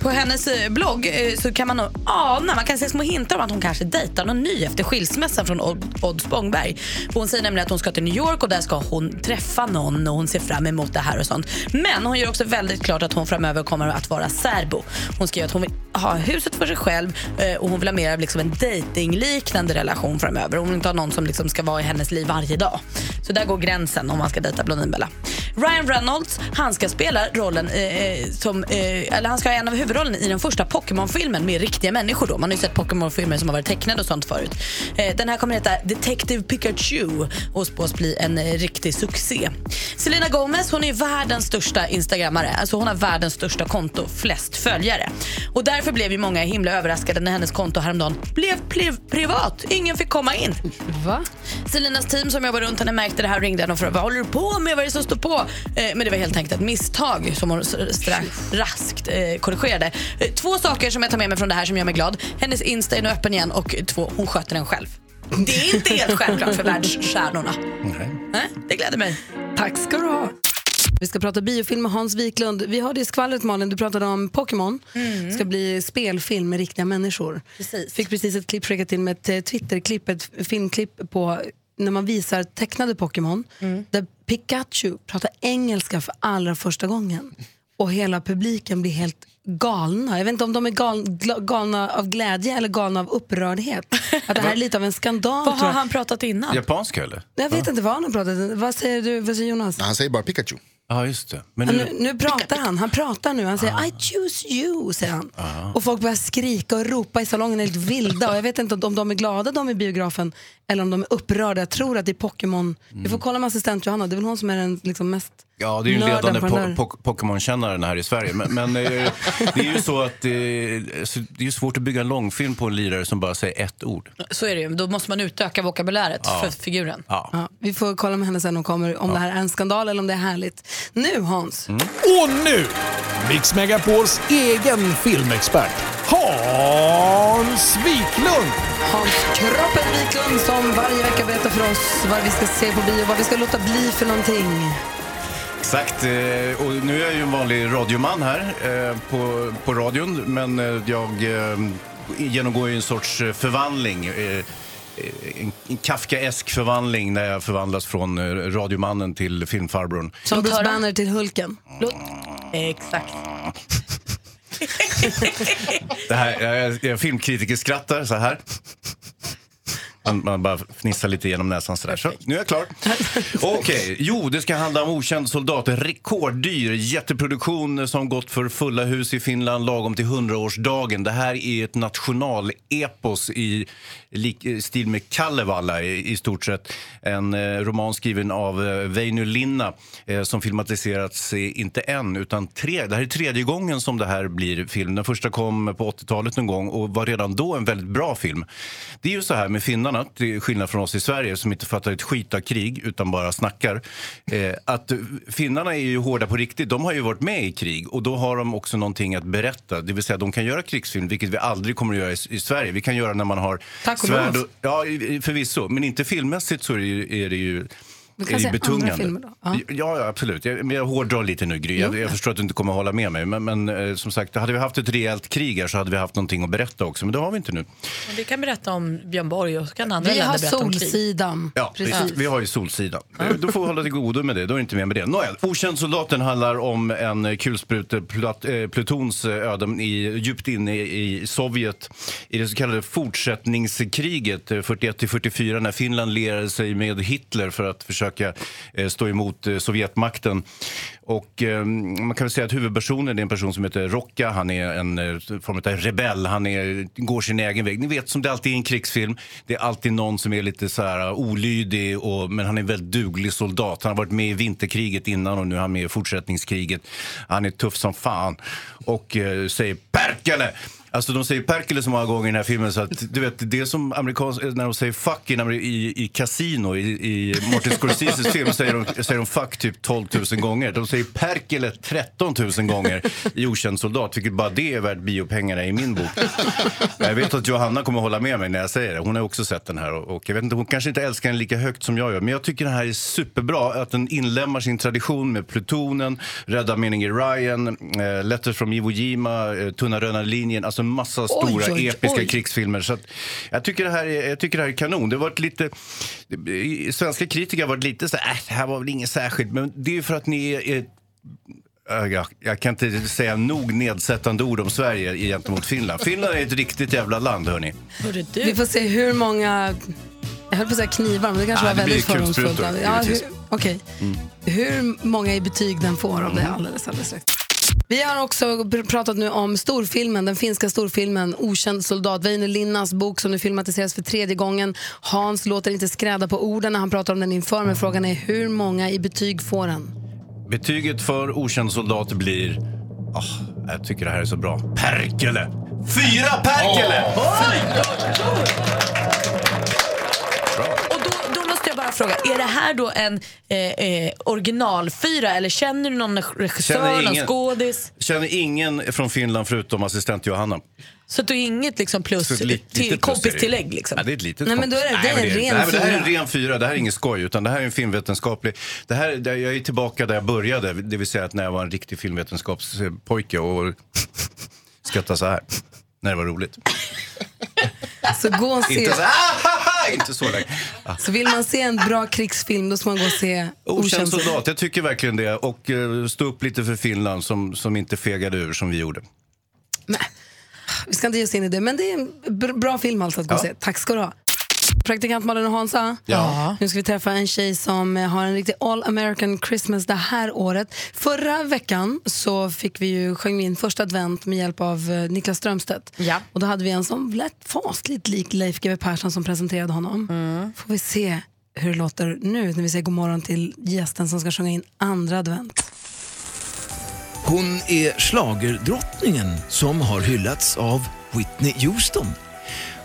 På hennes eh, blogg eh, så kan man nog ana, man kan se små hintar om att hon kanske dejtar någon ny efter skilsmässan från Od- Odd Spångberg. För Hon säger nämligen att hon ska till New York och där ska hon träffa någon och hon ser fram emot det här och sånt. Men hon gör också väldigt klart att hon framöver kommer att vara särbo. Hon skriver att hon vill ha huset för sig själv eh, och hon vill ha mer av liksom en dejtingliknande relation framöver. Hon vill inte ha någon som liksom ska vara i hennes liv varje dag. Så där går gränsen om man ska dejta Blondinbella. Ryan Reynolds, han ska spela rollen eh, eh, som, eh, eller han ska ha en av huvudrollen i den första Pokémon-filmen med riktiga människor då. Man har ju sett Pokémon-filmer som har varit tecknade och sånt förut. Eh, den här kommer heta Detective Pikachu och spås bli en eh, riktig succé. Selena Gomez, hon är ju världens största instagrammare. Alltså hon har världens största konto, flest följare. Och därför blev ju många himla överraskade när hennes konto häromdagen blev pliv- privat. Ingen fick komma in.
Va?
Selinas team som jobbar runt henne märkte det här och ringde henne och frågade vad håller du på med? Vad är det som står på? Eh, men det var helt enkelt ett misstag som hon s- stra- raskt eh, korrigerade. Eh, två saker som jag tar med mig från det här som gör mig glad. Hennes Insta är nu öppen igen och två, hon sköter den själv. Det är inte helt självklart för världsstjärnorna. Nej, det gläder mig.
Tack ska du ha. Vi ska prata biofilm med Hans Wiklund. Vi hörde i skvallret Malin, du pratade om Pokémon.
Mm.
ska bli spelfilm med riktiga människor.
Precis.
Fick precis ett klipp skickat in med ett eh, Twitterklipp, ett filmklipp på när man visar tecknade Pokémon.
Mm.
Där Pikachu pratar engelska för allra första gången. Och hela publiken blir helt galna. Jag vet inte om de är gal, gla- galna av glädje eller galna av upprördhet. Att det här är lite av en skandal. tror
Vad har
jag.
han pratat innan?
Japanska eller?
Jag vet inte vad han har pratat. Vad säger du, vad säger Jonas?
Han säger bara Pikachu.
Ja, just det. Men
nu, nu pratar han, han pratar nu. Han
Ah.
säger I choose you, säger han. Och folk börjar skrika och ropa i salongen, är helt vilda. Och jag vet inte om de är glada de i biografen eller om de är upprörda. Jag tror att det är Pokémon. Vi får kolla med assistent Johanna, det är väl hon som är den liksom, mest...
Mm. Ja, det är ju den
Nörden
ledande
på den här.
po- po- Pokémon-kännaren här i Sverige. Men, men eh, det är ju så att eh, så det är ju svårt att bygga en långfilm på en lirare som bara säger ett ord.
Så är det ju. Då måste man utöka vokabuläret
Ja.
för figuren.
Ja.
Ja, vi får kolla med henne sen hon kommer, om det här är en skandal eller om det är härligt. Nu Hans,
Mm.
Och nu, Mix Megapols egen filmexpert, Hans Wiklund!
Hans Kroppen Wiklund som varje vecka berättar för oss vad vi ska se på bio, vad vi ska låta bli för någonting.
Exakt. eh, Och nu är jag ju en vanlig radioman här eh, på, på radion, men eh, jag eh, genomgår ju en sorts eh, förvandling. eh, eh, En, en Kafkaesk förvandling när jag förvandlas från eh, radiomannen till filmfarbrorn.
Som Bruce Banner till Hulken.
Exakt.
Det här, jag, jag filmkritiker skrattar så här. Man, man bara fnissar lite genom näsan sådär. Så, nu är jag klar. Okej, jo det ska handla om Okänd soldat. En Rekorddyr jätteproduktion som gått för fulla hus i Finland lagom till 100-årsdagen. Det här är ett nationalepos i lik, eh, stil med Kalevala i, i stort sett. En eh, roman skriven av eh, Väinö Linna eh, som filmatiserats eh, inte en utan tre. Det här är tredje gången som det här blir film. Den första kom på 80-talet någon gång och var redan då en väldigt bra film. Det är ju så här med finnarna, till skillnad från oss i Sverige som inte fattar ett skit av krig utan bara snackar. Eh, att finnarna är ju hårda på riktigt. De har ju varit med i krig och då har de också någonting att berätta. Det vill säga de kan göra krigsfilm, vilket vi aldrig kommer att göra i, i Sverige. Vi kan göra när man har
Tack och lov.
Ja, i- i- förvisso. Men inte filmmässigt så är det ju, är det ju
Vi kan
är
se
ju
Alltså, andra filmer
betungande.
då.
Ja. ja, absolut. Jag, men jag hårdrar lite nu, Gry. Jag, jag förstår att du inte kommer att hålla med mig. Men, men eh, som sagt, hade vi haft ett rejält krig här så hade vi haft någonting att berätta också. Men det har vi inte nu.
Men Vi kan berätta om Björn Borg och så kan andra
Vi
länder
har
berätta om krig.
Solsidan.
Ja,
Precis.
Vi, vi har ju Solsidan. Eh, Då får vi hålla till godo med det. Då är det inte mer med det. Nåja, Okänd soldaten handlar om en eh, kulsprutepluton's eh, öden i, djupt inne i i Sovjet i det så kallade fortsättningskriget eh, 41 till 44 när Finland lerade sig med Hitler för att försöka eh, stå emot eh, Sovjetmakten. Och eh, man kan väl säga att huvudpersonen är en person som heter Rocka. Han är en eh, form av rebell. Han är, går sin egen väg. Ni vet som det alltid är i en krigsfilm. Det är alltid någon som är lite så här uh, olydig. Och, men han är en väldigt duglig soldat. Han har varit med i vinterkriget innan och nu är han med i fortsättningskriget. Han är tuff som fan. Och eh, säger Perkele! Alltså de säger Perkele så många gånger i den här filmen så att du vet, det är som amerikans, när de säger fuck i, i, i Casino i, i Martin Scorseses film säger de, säger de fuck typ 12 000 gånger. De säger Perkele 13 000 gånger i Okänd soldat, vilket bara det är värt biopengarna i min bok. Men Jag vet att Johanna kommer hålla med mig när jag säger det. Hon har också sett den här och, och jag vet inte, hon kanske inte älskar den lika högt som jag gör, men jag tycker den här är superbra, att den inlämnar sin tradition med plutonen, Rädda meningen Ryan, eh, Letters from Iwo Jima, eh, Tunna röda linjen, alltså en massa stora
oj,
episka
oj.
krigsfilmer. Så att, jag, tycker det här är, jag tycker det här är kanon. Det har varit lite, i- svenska kritiker har varit lite så här, äh, det här var väl inget särskilt, men det är ju för att ni är är Äh, Jag, jag kan inte säga nog nedsättande ord om Sverige gentemot Finland. Finland är ett riktigt jävla land, hörni.
Vi får se hur många... Jag höll på att säga knivar, men det kanske
Ja,
var
det blir
väldigt
kulsprutor,
fördomsfullt. av- Ja, hur,
givetvis.
okej.
Mm.
hur många i betyg den får av det
Mm.
alldeles, alldeles strax. Vi har också pr- pratat nu om storfilmen, den finska storfilmen Okänd soldat. Väinö Linnas bok som nu filmatiseras för tredje gången. Hans låter inte skräda på orden när han pratar om den inför, men frågan är hur många i betyg får den?
Betyget för okänd soldat blir... Ah, jag tycker det här är så bra. Perkele! Fyra Perkele!
Då måste jag bara fråga, är det här då en eh, eh, originalfyra eller känner du någon regissör,
Känner
någon
ingen.
skådis?
Känner ingen från Finland förutom assistent Johanna.
Så att du inget liksom plus
Så ett lit- litet
till
plus är det
kompistillägg
ju.
liksom?
Ja, det är ett litet
Nej, men
kompis-
då är det- det är
men
en
det,
ren
nej, men det här är en
fyra.
ren fyra. Det här är ingen skoj, utan det här är en filmvetenskaplig... Det här, där jag är tillbaka där jag började, det vill säga att när jag var en riktig filmvetenskapspojke och skrattade så här. När det var roligt.
Så gå och se.
Inte så, ah, ha, ha, inte så länge. Ah.
Så vill man se en bra krigsfilm, då ska man gå och se
Okänd soldat, jag tycker verkligen det. Och eh, stå upp lite för Finland som, som inte fegade ur som vi gjorde.
Vi ska inte ge oss in i det, men det är en br- bra film alltså att gå och se. Tack ska du ha. Praktikant Malin och Hansa,
Ja.
nu ska vi träffa en tjej som eh, har en riktig all American Christmas det här året. Förra veckan så fick vi ju, sjöng vi in första advent med hjälp av eh, Niklas Strömstedt.
Ja.
Och då hade vi en som lät fasligt lik Leif GW Persson som presenterade honom. Får vi se hur det låter nu när vi säger god morgon till gästen som ska sjunga in andra advent.
Hon är schlagerdrottningen som har hyllats av Whitney Houston.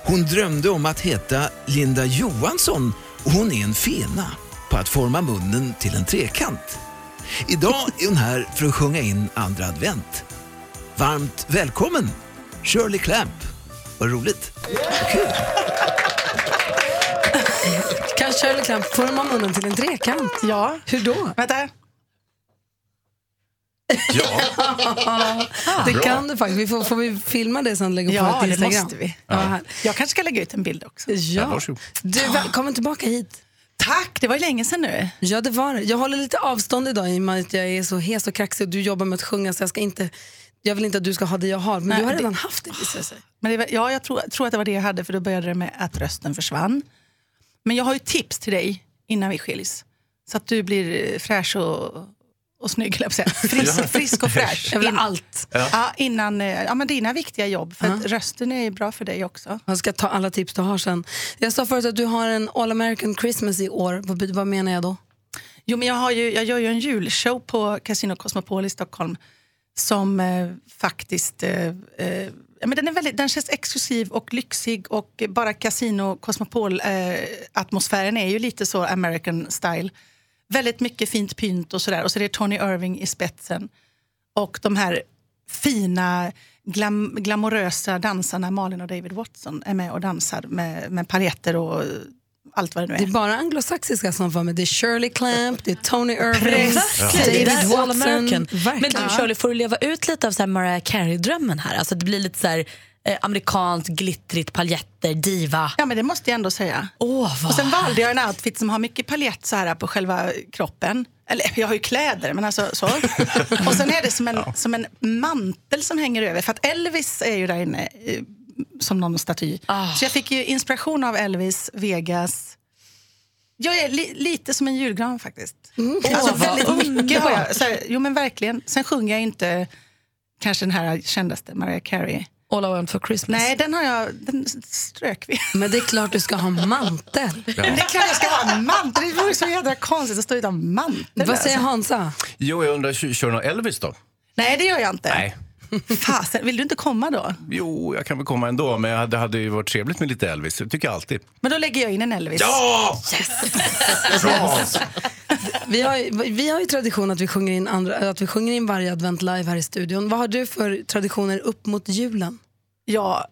Hon drömde om att heta Linda Johansson och hon är en fena på att forma munnen till en trekant. Idag är hon här för att sjunga in andra advent. Varmt välkommen, Shirley Clamp. Vad roligt.
Kan Shirley Clamp forma munnen till en trekant? Ja. Hur då? Vänta. Ja. det
Bra.
kan du faktiskt. Vi får, får vi filma det sen och lägga på
Ja,
vårt
det
Instagram?
måste vi.
Ja. här.
Jag kanske ska lägga ut en bild också.
Ja. Du, välkommen tillbaka hit.
Tack, det var ju länge sedan nu.
Ja, det var det. Jag håller lite avstånd idag i och med att jag är så hes och kraxig och du jobbar med att sjunga så jag ska inte jag vill inte att du ska ha det jag har, men
Nej,
du har
det-
redan haft det visar det sig.
Men det var, ja, jag tror, tror att det var det jag hade, för då började det med att rösten försvann. Men jag har ju tips till dig innan vi skiljs, så att du blir eh, fräsch och, och snygg, höll jag på att säga.
Ja.
frisk, frisk och fräsch.
Jag vill ha allt.
Ja.
Ja.
innan, eh, ja, men dina viktiga jobb, för att rösten är ju bra för dig också.
Jag ska ta alla tips du har sen. Jag sa förut att du har en All American Christmas i år. Vad, be- vad menar jag då?
Jo, men jag, har ju, jag gör ju en julshow på Casino Cosmopol i Stockholm som eh, faktiskt... Eh, eh, ja, men den, är väldigt, den känns exklusiv och lyxig och bara Casino Cosmopol-atmosfären är ju lite så American style. Väldigt mycket fint pynt och sådär. Och så är det Tony Irving i spetsen. Och de här fina, glam, glamorösa dansarna Malin och David Watson är med och dansar med, med paljetter och allt vad det nu är.
Det är bara anglosaxiska som får med. Det är Shirley Clamp, det är Tony Irving,
Precis, det där
David
är all
Watson.
American. Men
Verkligen.
du Shirley, får du leva ut lite av så här Mariah Carey-drömmen här? Alltså det blir lite så här eh, amerikanskt, glittrigt, paljetter, diva.
Ja, men det måste jag ändå säga.
Åh, vad
Och sen valde jag en outfit som har mycket paljett så här på själva kroppen. Eller jag har ju kläder, men alltså så. Och sen är det som en, som en mantel som hänger över. För att Elvis är ju där inne eh, som någon staty. Så jag fick ju inspiration av Elvis, Vegas. Jag är li, lite som en julgran faktiskt. alltså
vad
väldigt mycket har
underbart.
jag. Så här, jo men verkligen. Sen sjunger jag inte kanske den här kändaste, Mariah Carey.
All I want for Christmas.
Nej, den har jag, den strök vi.
Men det är klart du ska ha mantel.
Men det är klart jag ska ha en mantel. Det vore så jädra konstigt att stå utan mantel.
Vad säger
alltså.
Hansa?
Jo, jag undrar, kör du någon Elvis då?
Nej, det gör jag inte.
Nej.
Fasen, vill du inte komma då?
Jo, jag kan väl komma ändå, men det hade ju varit trevligt med lite Elvis. Det tycker jag alltid.
Men då lägger jag in en Elvis.
Ja! Bra!
Vi har, ju- vi har ju tradition att vi, sjunger in andra, att vi sjunger in varje advent live här i studion. Vad har du för traditioner upp mot julen?
Ja,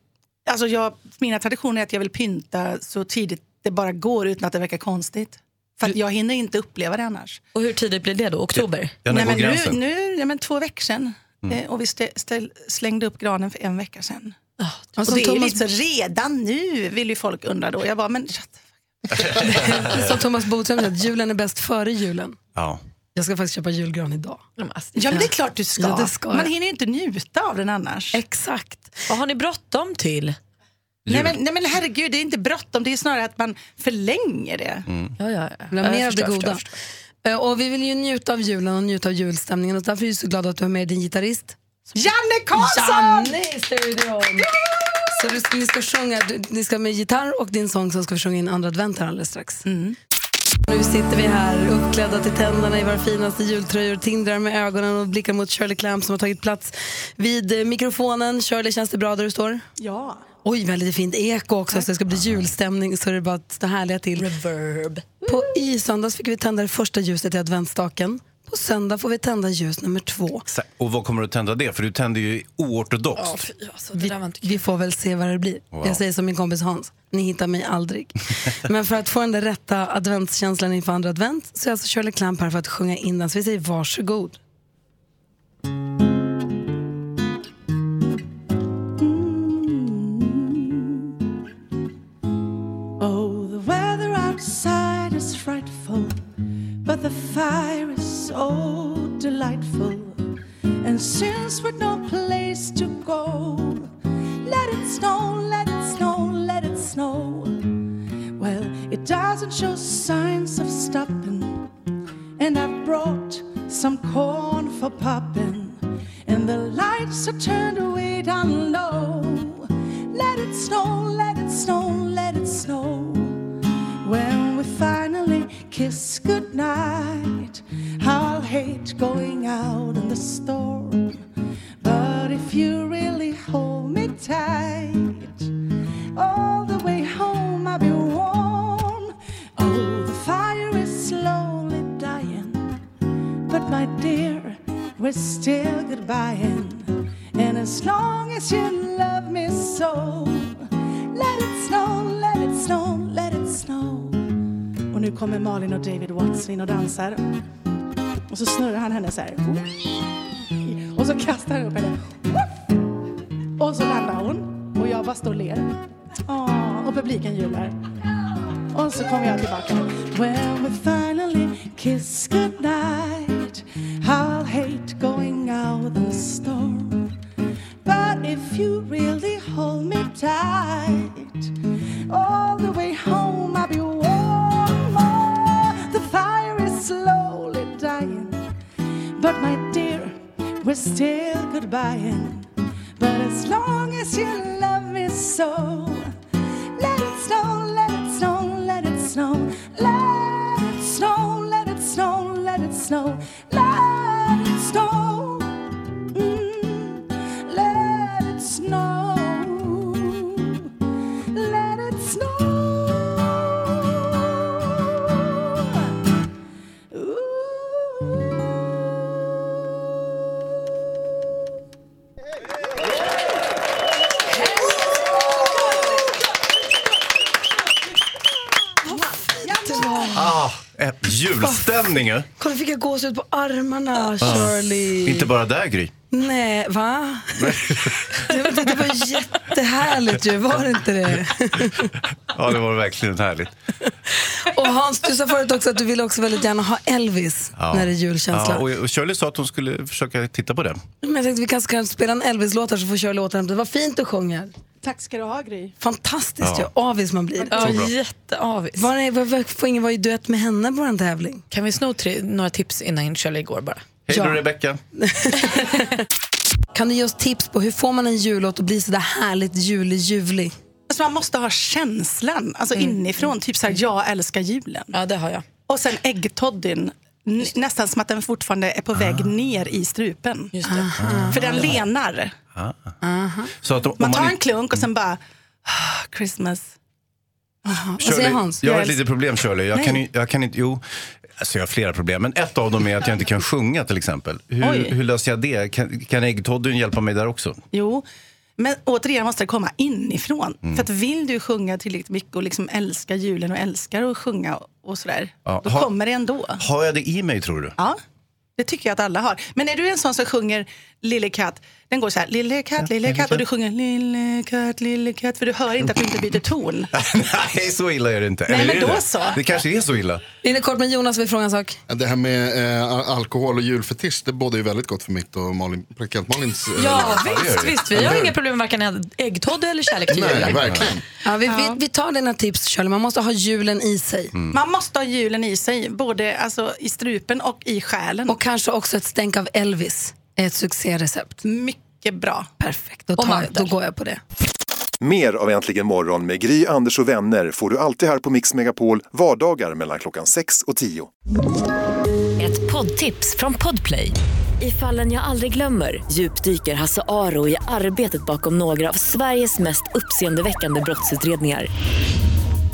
alltså jag, mina traditioner är att jag vill pynta så tidigt det bara går utan att det verkar konstigt. För att jag hinner inte uppleva det annars.
Och hur tidigt blir det då? Oktober?
Ja,
Nej,
när går
men nu,
gränsen?
nu ja, men två veckor sedan.
Alltså- Mm.
Eh, Och vi stä- ställ, slängde upp granen för en vecka sedan.
och
och
som
det är ju
Thomas-
lite så, redan nu vill ju folk undra då. Jag bara, men
Som Thomas Bodström sa, att julen är bäst före julen.
Ja.
Jag ska faktiskt köpa julgran idag.
Ja, men det är klart du ska.
Ja, det ska
Man
jag.
hinner ju inte njuta av den annars.
Exakt.
Vad har ni bråttom till?
Nej men, nej men herregud, det är inte bråttom. Det är snarare att man förlänger det.
Ja, ja, ja.
Bland
Jag
mer av det
förstår, förstår,
goda.
förstår.
Eh, Och vi vill ju njuta av julen och njuta av julstämningen. Och därför är jag så glad att du har med din gitarrist.
Janne
Ah,
Karlsson!
Janne i studion! Så du, ni, ska sjunga, du, ni ska med gitarr och din sång så ska vi sjunga in andra advent här alldeles strax. Nu sitter vi här uppklädda till tänderna i våra finaste jultröjor, tindrar med ögonen och blickar mot Shirley Clamp som har tagit plats vid eh, mikrofonen. Shirley, känns det bra där du står?
Ja.
Oj, väldigt fint eko också, så det ska bli julstämning så det är bara att stå härliga till.
Reverb.
På, I söndags fick vi tända det första ljuset i adventsstaken. På söndag får vi tända ljus nummer två.
Så- Och vad kommer du att tända det? För du tänder ju oortodoxt.
vi, vi får väl se vad det blir.
Wow.
Jag säger som min kompis Hans, ni hittar mig aldrig. Men för att få den där rätta adventskänslan inför andra advent så är alltså Shirley Clamp här för att sjunga in den. Så vi säger varsågod.
Oh, the weather outside is frightful, but the fire is so delightful. And since we've no place to go, let it snow, let it snow, let it snow. Well, it doesn't show signs of stopping, and I've brought some corn for popping, and the lights are turned way down low. Let it snow, let it snow, let it snow. When we finally kiss goodnight, I'll hate going out in the storm. But if you really hold me tight, all the way home I'll be warm. Oh, the fire is slowly dying, but my dear, we're still goodbying. And as long as you love me so, let it snow, let it snow, let it snow. Och nu kommer Malin och David Watts in och dansar. Och så snurrar han henne så här. Och så kastar han upp henne. Och så landar hon. Och jag bara står och ler. Åh, och publiken jublar. Och så kommer jag tillbaka. When we finally kiss goodnight I'll hate going out in the storm But if you really hold me tight All the way home I'll be warm Oh, The fire is slowly dying But my dear, we're still goodbying But as long as you love me so let it snow, let it snow, let it snow, let it snow, let it snow, let it snow, let it snow, Mm. let it snow, let it snow.
Ah, eh, julstämning eh? ju.
Kolla fick jag gåshud på armarna,
Ah.
Shirley.
Inte bara där, Gry.
Nej, va? det, var, det var jättehärligt ju, var det inte det?
Ja, det var verkligen härligt.
Och Hans, du sa förut också att du ville också väldigt gärna ha Elvis
Ja.
när det är julkänsla.
Ja, och- och Shirley sa att hon skulle försöka titta på den.
Men jag tänkte vi kanske kan spela en Elvis-låt här så får Shirley återhämta Vad fint du sjunger.
Tack ska du ha, Gry.
Fantastiskt
Ja.
ju, avis man blir.
Ja, Så bra.
jätteavis. Var, är- var, var, får ingen vara i duett med henne på vår tävling?
Kan vi sno tre, några tips innan Shirley går bara?
Hej då, Rebecca.
Kan du ge oss tips på hur får man en jullåt att bli sådär härligt julig juvlig?
Alltså man måste ha känslan alltså
Mm.
inifrån. Typ så här, jag älskar julen.
Ja, det har jag.
Och sen äggtoddyn. N- Nästan som att den fortfarande är på
Ah.
väg ner i strupen. Ah. För den lenar.
Ah. Så att om
Man tar
man
en klunk och sen bara... "Ah, Christmas. Aha. Vad säger Hans?
Jag har ett
älskar-
litet problem Shirley. Jag kan,
Nej.
ju- jag kan inte, jo, alltså jag har flera problem. Men ett av dem är att jag inte kan sjunga till exempel.
Oj.
Hur, hur löser jag det? Kan, kan äggtoddyn hjälpa mig där också?
Jo, men återigen måste det komma inifrån.
Mm.
För att vill du sjunga tillräckligt mycket och liksom älska julen och älskar att sjunga och sådär,
Ja,
då
ha-
kommer det ändå.
Har jag det i mig tror du?
Ja, det tycker jag att alla har. Men är du en sån som sjunger Lille katt, den går så här, Lille katt, lille katt, och du sjunger Lille katt, lille katt, för du hör inte att du inte byter ton.
Nej, så illa är det inte.
Nej,
Eller
men
är det
då
det?
så.
Det kanske är så illa.
Inne kort med Jonas vill fråga en sak.
Det här med eh, al- alkohol och julfetisch, det bådar ju väldigt gott för mitt och Malin, praktikant Malins... eh,
Ja,
det gör
visst,
det.
visst. Vi har
Eller
inga problem med varken äggtoddy eller kärlek till
Nej,
julen.
verkligen.
Ja, vi, Vi, vi tar dina tips Shirley, man måste ha julen i sig.
Man måste ha julen i sig, både alltså, i strupen och i själen.
Och kanske också ett stänk av Elvis är ett succérecept.
Mycket bra.
Perfekt, då, tar, då går jag på det.
Mer av Äntligen morgon med Gry, Anders och vänner får du alltid här på Mix Megapol vardagar mellan klockan 6 och 10.
Ett poddtips från Podplay. I fallen jag aldrig glömmer djupdyker Hasse Aro i arbetet bakom några av Sveriges mest uppseendeväckande brottsutredningar.